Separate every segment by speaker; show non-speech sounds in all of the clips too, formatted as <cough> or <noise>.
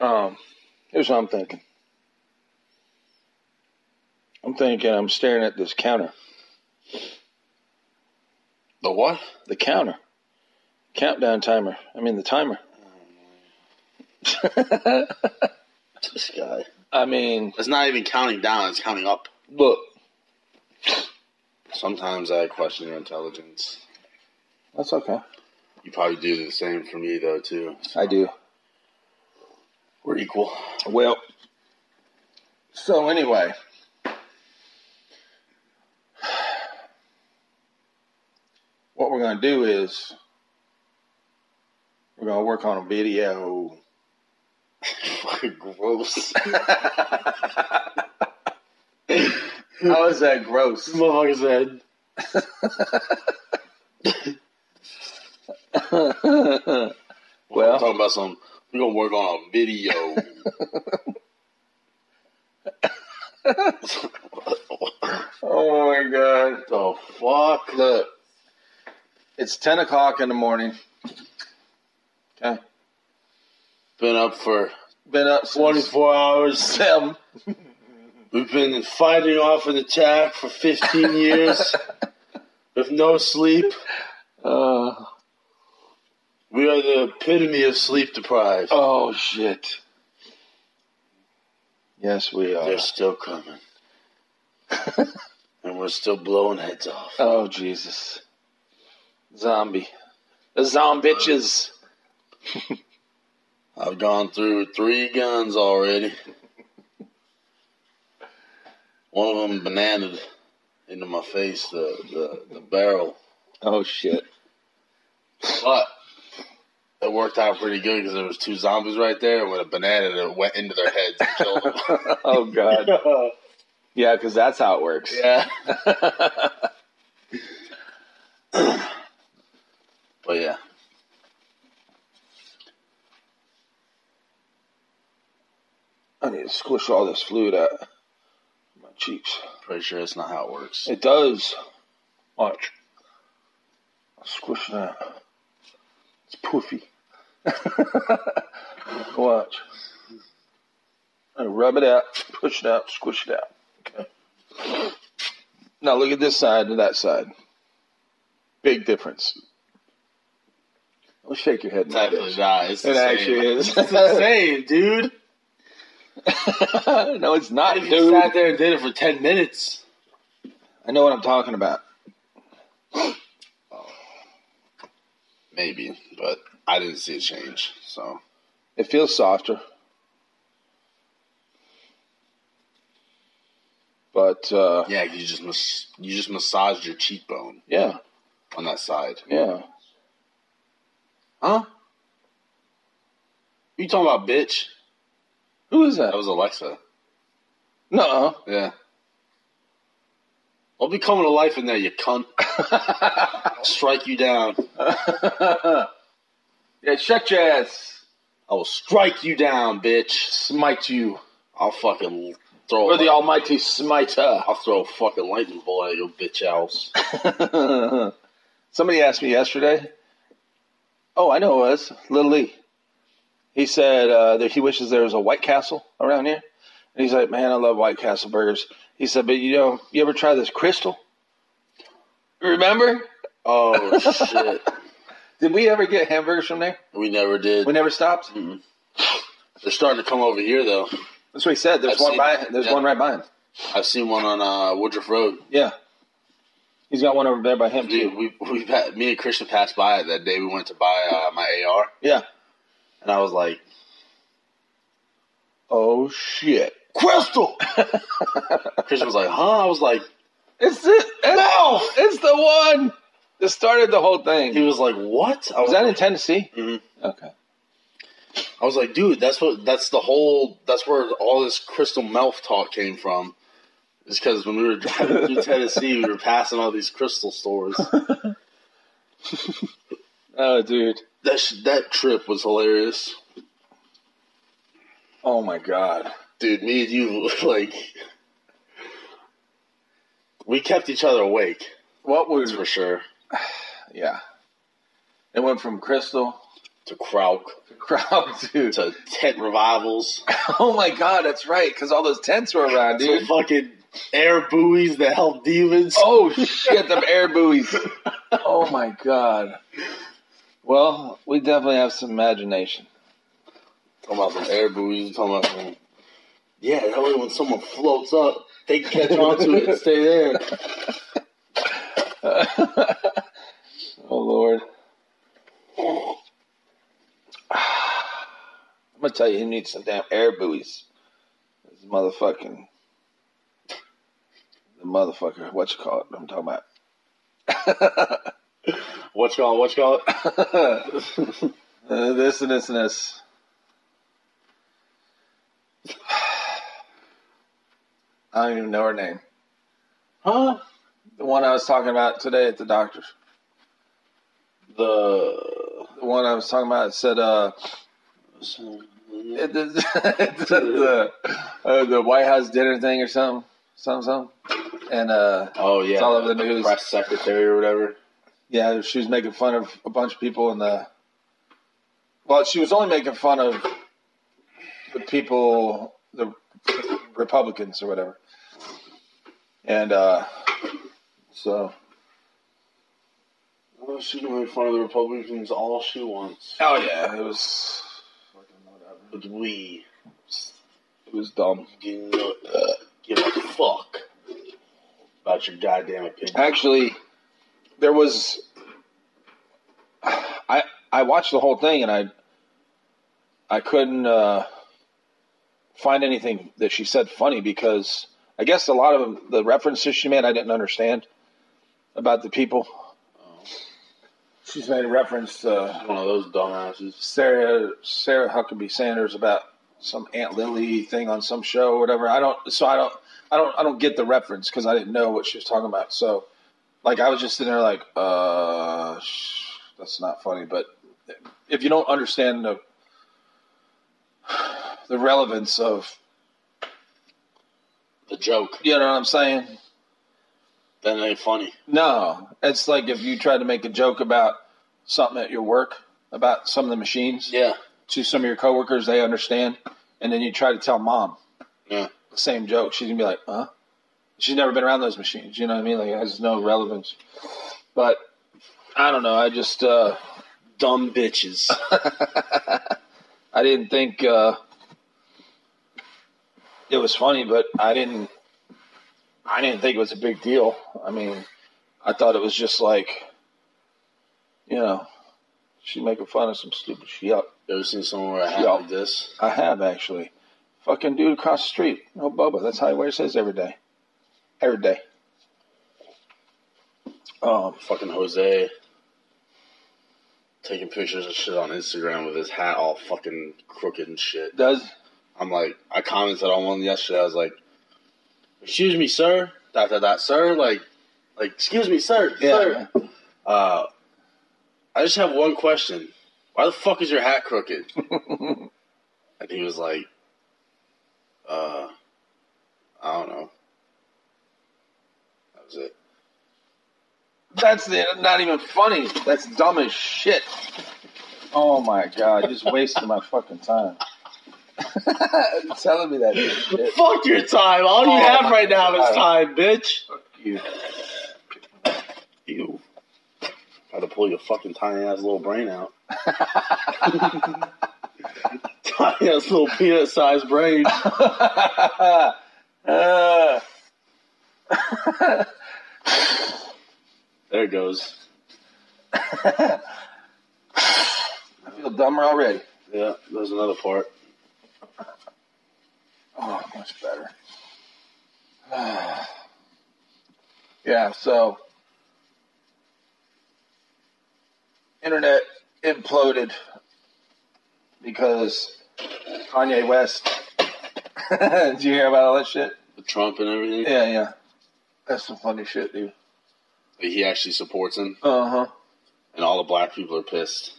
Speaker 1: Um, here's what I'm thinking. I'm thinking I'm staring at this counter.
Speaker 2: The what?
Speaker 1: The counter. Countdown timer. I mean the timer. <laughs>
Speaker 2: This guy.
Speaker 1: I mean,
Speaker 2: It's not even counting down, it's counting up.
Speaker 1: look,
Speaker 2: Sometimes I question your intelligence.
Speaker 1: that's okay.
Speaker 2: You probably do the same for me, though, too.
Speaker 1: I do.
Speaker 2: We're equal.
Speaker 1: Well, so anyway, what we're going to do is we're going to work on a video.
Speaker 2: <laughs>
Speaker 1: <laughs>
Speaker 2: Fucking gross.
Speaker 1: How is that gross?
Speaker 2: Motherfucker's head.
Speaker 1: Well- <laughs> Oh
Speaker 2: Well, talking about some. We're gonna work on a
Speaker 1: <laughs>
Speaker 2: video. <laughs>
Speaker 1: oh my god.
Speaker 2: the fuck?
Speaker 1: Look, it's 10 o'clock in the morning. Okay.
Speaker 2: Been up for
Speaker 1: Been up since <laughs>
Speaker 2: 24 hours.
Speaker 1: 7.
Speaker 2: We've been fighting off an attack for
Speaker 1: <laughs>
Speaker 2: 15 years with no sleep.
Speaker 1: Uh,
Speaker 2: We are the epitome of sleep deprived.
Speaker 1: oh shit. Yes, we are.
Speaker 2: They're still coming. <laughs> and we're still blowing heads off.
Speaker 1: Oh Jesus! Zombie, the zombitches.
Speaker 2: I've gone through three guns already. One of them bananaed into my face, the, the, the barrel.
Speaker 1: Oh shit!
Speaker 2: But it worked out pretty good because there was two zombies right there. and With a banana that went into their heads and
Speaker 1: <laughs>
Speaker 2: killed them.
Speaker 1: <laughs> Oh god! Yeah, because that's how it works.
Speaker 2: yeah. but yeah.
Speaker 1: <laughs> I need to squish all this fluid out of my cheeks.
Speaker 2: Pretty sure that's not how it works.
Speaker 1: It does. Watch. Squish it out. It's poofy. <laughs> Watch. I rub it out, push it out, squish it out. Okay. Now look at this side and that side. Big difference. Don't shake your head.
Speaker 2: It's
Speaker 1: like
Speaker 2: actually
Speaker 1: that.
Speaker 2: not. It's the
Speaker 1: It
Speaker 2: same.
Speaker 1: actually is.
Speaker 2: It's the same,
Speaker 1: <laughs>
Speaker 2: dude.
Speaker 1: no, it's not,
Speaker 2: If you
Speaker 1: dude.
Speaker 2: sat there and did it for 10 minutes.
Speaker 1: I know what I'm talking about.
Speaker 2: Maybe, but I didn't see a change. So
Speaker 1: It feels softer. But uh,
Speaker 2: yeah, you just mas- you just massaged your cheekbone
Speaker 1: yeah,
Speaker 2: on that side.
Speaker 1: yeah.
Speaker 2: Huh? You talking about bitch?
Speaker 1: Who is that?
Speaker 2: That was Alexa.
Speaker 1: No.
Speaker 2: Yeah. I'll be coming to life in there, you cunt. I'll strike you down.
Speaker 1: <laughs> Yeah, shut your ass.
Speaker 2: I will strike you down, bitch.
Speaker 1: Smite you.
Speaker 2: I'll fucking throw. a
Speaker 1: Or the
Speaker 2: lightning-
Speaker 1: Almighty smiter.
Speaker 2: I'll throw a fucking lightning bolt at your bitch house.
Speaker 1: <laughs> Somebody asked me yesterday. Oh, I know who it was Little Lee. He said uh, that he wishes there was a White Castle around here, and he's like, "Man, I love White Castle burgers." He said, "But you know, you ever try this Crystal? Remember?
Speaker 2: Oh <laughs> shit!
Speaker 1: Did we ever get hamburgers from there?
Speaker 2: We never did.
Speaker 1: We never stopped.
Speaker 2: They're starting to come over here though.
Speaker 1: That's what he said. There's
Speaker 2: I've
Speaker 1: one
Speaker 2: seen
Speaker 1: by.
Speaker 2: that.
Speaker 1: There's
Speaker 2: Yeah.
Speaker 1: one right behind.
Speaker 2: I've seen one on uh, Woodruff Road.
Speaker 1: Yeah, he's got one over there by him
Speaker 2: Dude,
Speaker 1: too.
Speaker 2: we we had, me and Christian passed by it that day. We went to buy uh, my AR,
Speaker 1: Yeah.
Speaker 2: and I was like,
Speaker 1: Oh shit!
Speaker 2: "Crystal." <laughs> Christian was like, "Huh?" I was like,
Speaker 1: It's it. No, it's the one Mm-hmm. that started the whole thing.
Speaker 2: "He was like, what?" I
Speaker 1: Was
Speaker 2: was,
Speaker 1: that in Tennessee?
Speaker 2: Mhm.
Speaker 1: Okay.
Speaker 2: I was like, "Dude, that's what that's the whole that's where all this crystal meth talk came from." It's because when we were
Speaker 1: <laughs>
Speaker 2: driving through Tennessee, we were passing all these crystal stores.
Speaker 1: Oh, dude.
Speaker 2: That sh- that trip was hilarious,
Speaker 1: Oh my God.
Speaker 2: dude. Me and you <laughs> like. We kept each other awake,
Speaker 1: What was?
Speaker 2: that's for sure.
Speaker 1: Yeah. It went from Crystal
Speaker 2: to Krauk,
Speaker 1: <laughs> Crowd, dude.
Speaker 2: to tent revivals,
Speaker 1: Oh my god, that's right. Because all those tents were around,
Speaker 2: to <laughs>
Speaker 1: dude.
Speaker 2: fucking air buoys that help demons.
Speaker 1: Oh shit, them air buoys. Oh my god. Well, we definitely have some imagination.
Speaker 2: Talking about some air buoys, talking about some. Yeah, that way when someone floats up, they can catch onto it <laughs> and stay there.
Speaker 1: oh Lord. I'm gonna tell you, he needs some damn air buoys. This motherfucking, the motherfucker. What you call it? I'm talking about.
Speaker 2: What y'all, what y'all?
Speaker 1: <laughs> Uh, this and this and this. <sighs> I don't even know her name.
Speaker 2: Huh?
Speaker 1: The one I was talking about today at the doctor's.
Speaker 2: The.
Speaker 1: The one I was talking about said, uh, <laughs> at the, at the, uh, the White House dinner thing or something, something, something. And uh,
Speaker 2: Oh yeah,
Speaker 1: It's all over the news.
Speaker 2: press secretary or whatever.
Speaker 1: yeah, she was making fun of a bunch of people in the. Well, she was only making fun of the people, the Republicans or whatever. And uh, so.
Speaker 2: Well, she can make fun of the Republicans all she wants,
Speaker 1: Oh yeah, it was.
Speaker 2: but we
Speaker 1: It was dumb.
Speaker 2: do not uh, give a fuck about your goddamn opinion.
Speaker 1: Actually, there was. I I watched the whole thing and I. I couldn't uh, find anything that she said funny because I guess a lot of the references she made I didn't understand about the people. She's made a reference to
Speaker 2: One of those dumbasses.
Speaker 1: Sarah Sarah Huckabee Sanders about some Aunt Lily thing on some show or whatever. I don't so I don't I don't I don't get the reference because I didn't know what she was talking about. So like I was just sitting there like uh sh- that's not funny. But if you don't understand the the relevance of
Speaker 2: The joke.
Speaker 1: you know what I'm saying
Speaker 2: That ain't funny.
Speaker 1: no it's like if you try to make a joke about something at your work about some of the machines
Speaker 2: Yeah.
Speaker 1: to some of your coworkers they understand and then you try to tell mom
Speaker 2: Yeah.
Speaker 1: the same joke, she's gonna be like, huh? She's never been around those machines, you know what I mean? Like it has no relevance. But I don't know, I just uh
Speaker 2: Dumb bitches.
Speaker 1: I didn't think uh it was funny, but I didn't I didn't think it was a big deal. I mean, I thought it was just like you know, she making fun of some stupid shit.
Speaker 2: you ever seen someone wear a hat
Speaker 1: Yeah.
Speaker 2: like this?
Speaker 1: I have actually. Fucking dude across the street, no Bubba. That's how he wears his every day. Every day. Um,
Speaker 2: Fucking Jose taking pictures of shit on Instagram with his hat all fucking crooked and shit.
Speaker 1: does
Speaker 2: I'm like, I commented on one yesterday. I was like, "Excuse me, sir." Dot dot dot, sir. Like, like, excuse me, sir. Sir. Uh, I just have one question. Why the fuck is your
Speaker 1: <laughs>
Speaker 2: hat crooked? and he was like, "Uh, I don't know." That was it.
Speaker 1: That's the, not even funny. That's dumb as shit. Oh my god, just wasting my fucking time. <laughs> Telling me that shit.
Speaker 2: Fuck your time. All you
Speaker 1: Oh my
Speaker 2: have right now
Speaker 1: God.
Speaker 2: is time, bitch.
Speaker 1: You. <laughs>
Speaker 2: You. Try to pull your fucking tiny ass little
Speaker 1: <laughs>
Speaker 2: brain out. tiny ass little peanut sized brain.
Speaker 1: Uh,
Speaker 2: There it goes.
Speaker 1: I feel dumber already.
Speaker 2: Yeah, there's another part.
Speaker 1: Oh, much better. <sighs> yeah, so internet imploded because Kanye West. <laughs> Did you hear about all that shit?
Speaker 2: The Trump and everything.
Speaker 1: Yeah, yeah. That's some funny shit, dude.
Speaker 2: He actually supports him,
Speaker 1: Uh huh.
Speaker 2: and all the black people are pissed.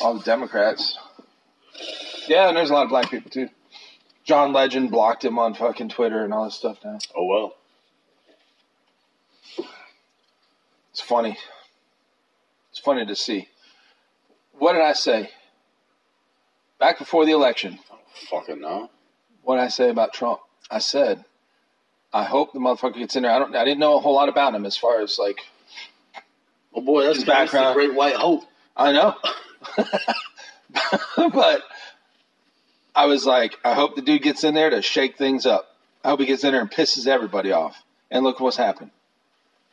Speaker 1: All the Democrats. Yeah, and there's a lot of black people too. John Legend blocked him on fucking Twitter and all this stuff now.
Speaker 2: Oh well.
Speaker 1: It's funny. It's funny to see. What did I say? Back before the election,
Speaker 2: Fucking no.
Speaker 1: what did I say about Trump? I said, I hope the motherfucker gets in there. I don't. I didn't know a whole lot about him as far as like.
Speaker 2: Oh boy, that's
Speaker 1: His
Speaker 2: that's the
Speaker 1: background.
Speaker 2: great white hope.
Speaker 1: I know, <laughs> but I was like, I hope the dude gets in there to shake things up. I hope he gets in there and pisses everybody off. And look what's happened.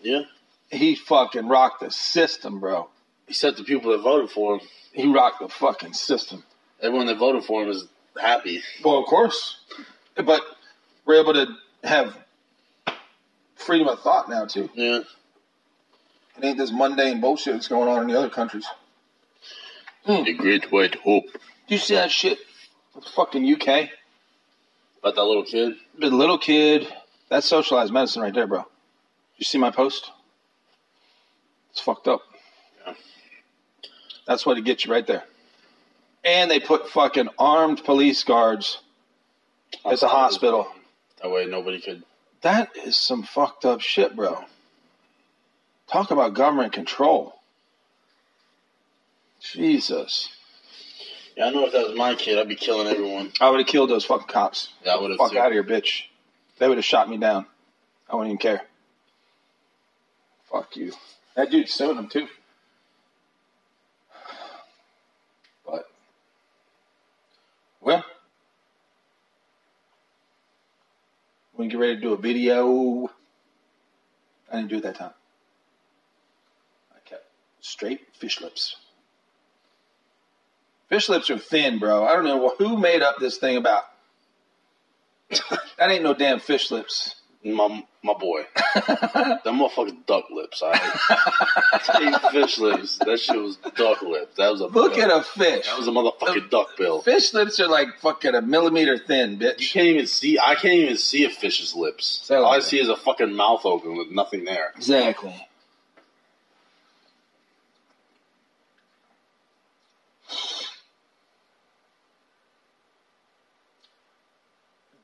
Speaker 2: Yeah.
Speaker 1: He fucking rocked the system, bro.
Speaker 2: He said the people that voted for him,
Speaker 1: He rocked the fucking system.
Speaker 2: everyone that voted for him is happy.
Speaker 1: Well, of course, but we're able to have freedom of thought now too.
Speaker 2: Yeah.
Speaker 1: It ain't this mundane bullshit that's going on in the other countries.
Speaker 2: The great white hope.
Speaker 1: Do you see that shit? With the fucking UK.
Speaker 2: About that little kid?
Speaker 1: The little kid. That's socialized medicine right there, bro. You see my post? It's fucked up.
Speaker 2: Yeah.
Speaker 1: That's what it gets you right there. And they put fucking armed police guards. It's a hospital.
Speaker 2: That way nobody could.
Speaker 1: That is some fucked up shit, bro. Talk about government control. Jesus.
Speaker 2: Yeah, I know if that was my kid, I'd be killing everyone.
Speaker 1: I would have killed those fucking cops.
Speaker 2: Yeah, I would have
Speaker 1: Fuck out
Speaker 2: too.
Speaker 1: of here, bitch. They would have shot me down. I wouldn't even care. Fuck you. That dude's suing him too. But well, when you get ready to do a video, I didn't do it that time. I kept straight fish lips. Fish lips are thin, bro. I don't know who made up this thing about that ain't no damn fish lips.
Speaker 2: My, my <laughs> boy. Them motherfucking duck lips, I <laughs> hate fish lips. That shit was duck lips. That was a
Speaker 1: Look at
Speaker 2: bill.
Speaker 1: a fish.
Speaker 2: That was a motherfucking duck bill.
Speaker 1: Fish lips are like fucking a millimeter thin,
Speaker 2: You
Speaker 1: bitch.
Speaker 2: can't even see. I can't even see a fish's lips.
Speaker 1: Say it
Speaker 2: All I
Speaker 1: like that.
Speaker 2: see is a fucking mouth open with nothing there.
Speaker 1: Exactly.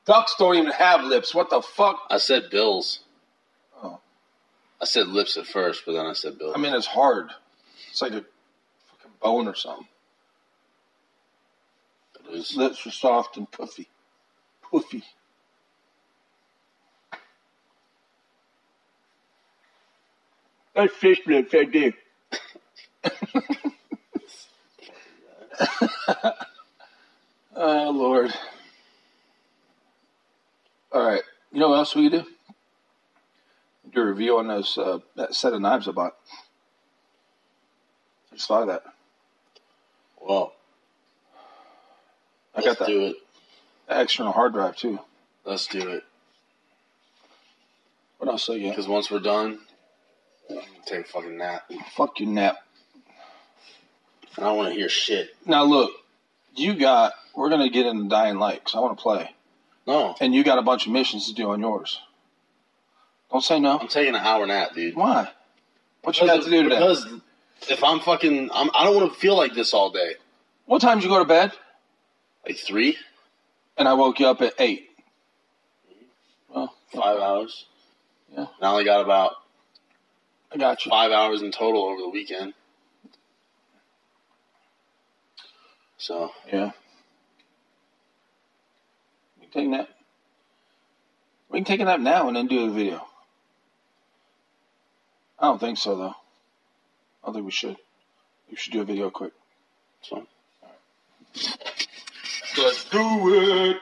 Speaker 1: Ducks don't even have lips. What the fuck?
Speaker 2: I said bills.
Speaker 1: Oh.
Speaker 2: I said lips at first, but then I said bills.
Speaker 1: I mean, it's hard. It's like a fucking bone or something.
Speaker 2: It is-
Speaker 1: Lips are soft and puffy. Puffy. That's fish lips right there. <laughs> oh, Lord. All right. You know what else we could do? Do a review on those uh, that set of knives I bought. I just thought of that.
Speaker 2: well,
Speaker 1: I
Speaker 2: let's
Speaker 1: got that
Speaker 2: do it.
Speaker 1: external hard drive too.
Speaker 2: Let's do it.
Speaker 1: What else do you got?
Speaker 2: Because once we're done, I'm gonna take a fucking nap, and
Speaker 1: Fuck your nap.
Speaker 2: I don't want to hear shit.
Speaker 1: Now look, you got. We're gonna get into Dying Light because I want to play,
Speaker 2: No,
Speaker 1: and you got a bunch of missions to do on yours. Don't say no.
Speaker 2: I'm taking an hour nap, dude.
Speaker 1: Why? What you got to do today?
Speaker 2: Because if I'm fucking, I'm, I don't want to feel like this all day.
Speaker 1: what time did you go to bed?
Speaker 2: Like three,
Speaker 1: And I woke you up at eight. Well,
Speaker 2: five hours.
Speaker 1: Yeah.
Speaker 2: And I only got about
Speaker 1: I got you.
Speaker 2: five hours in total over the weekend. So
Speaker 1: Yeah. We can take a nap. We can take a nap now and then do a video. I don't think so though. I don't think we should. We should do a video quick.
Speaker 2: So.
Speaker 1: Let's do it.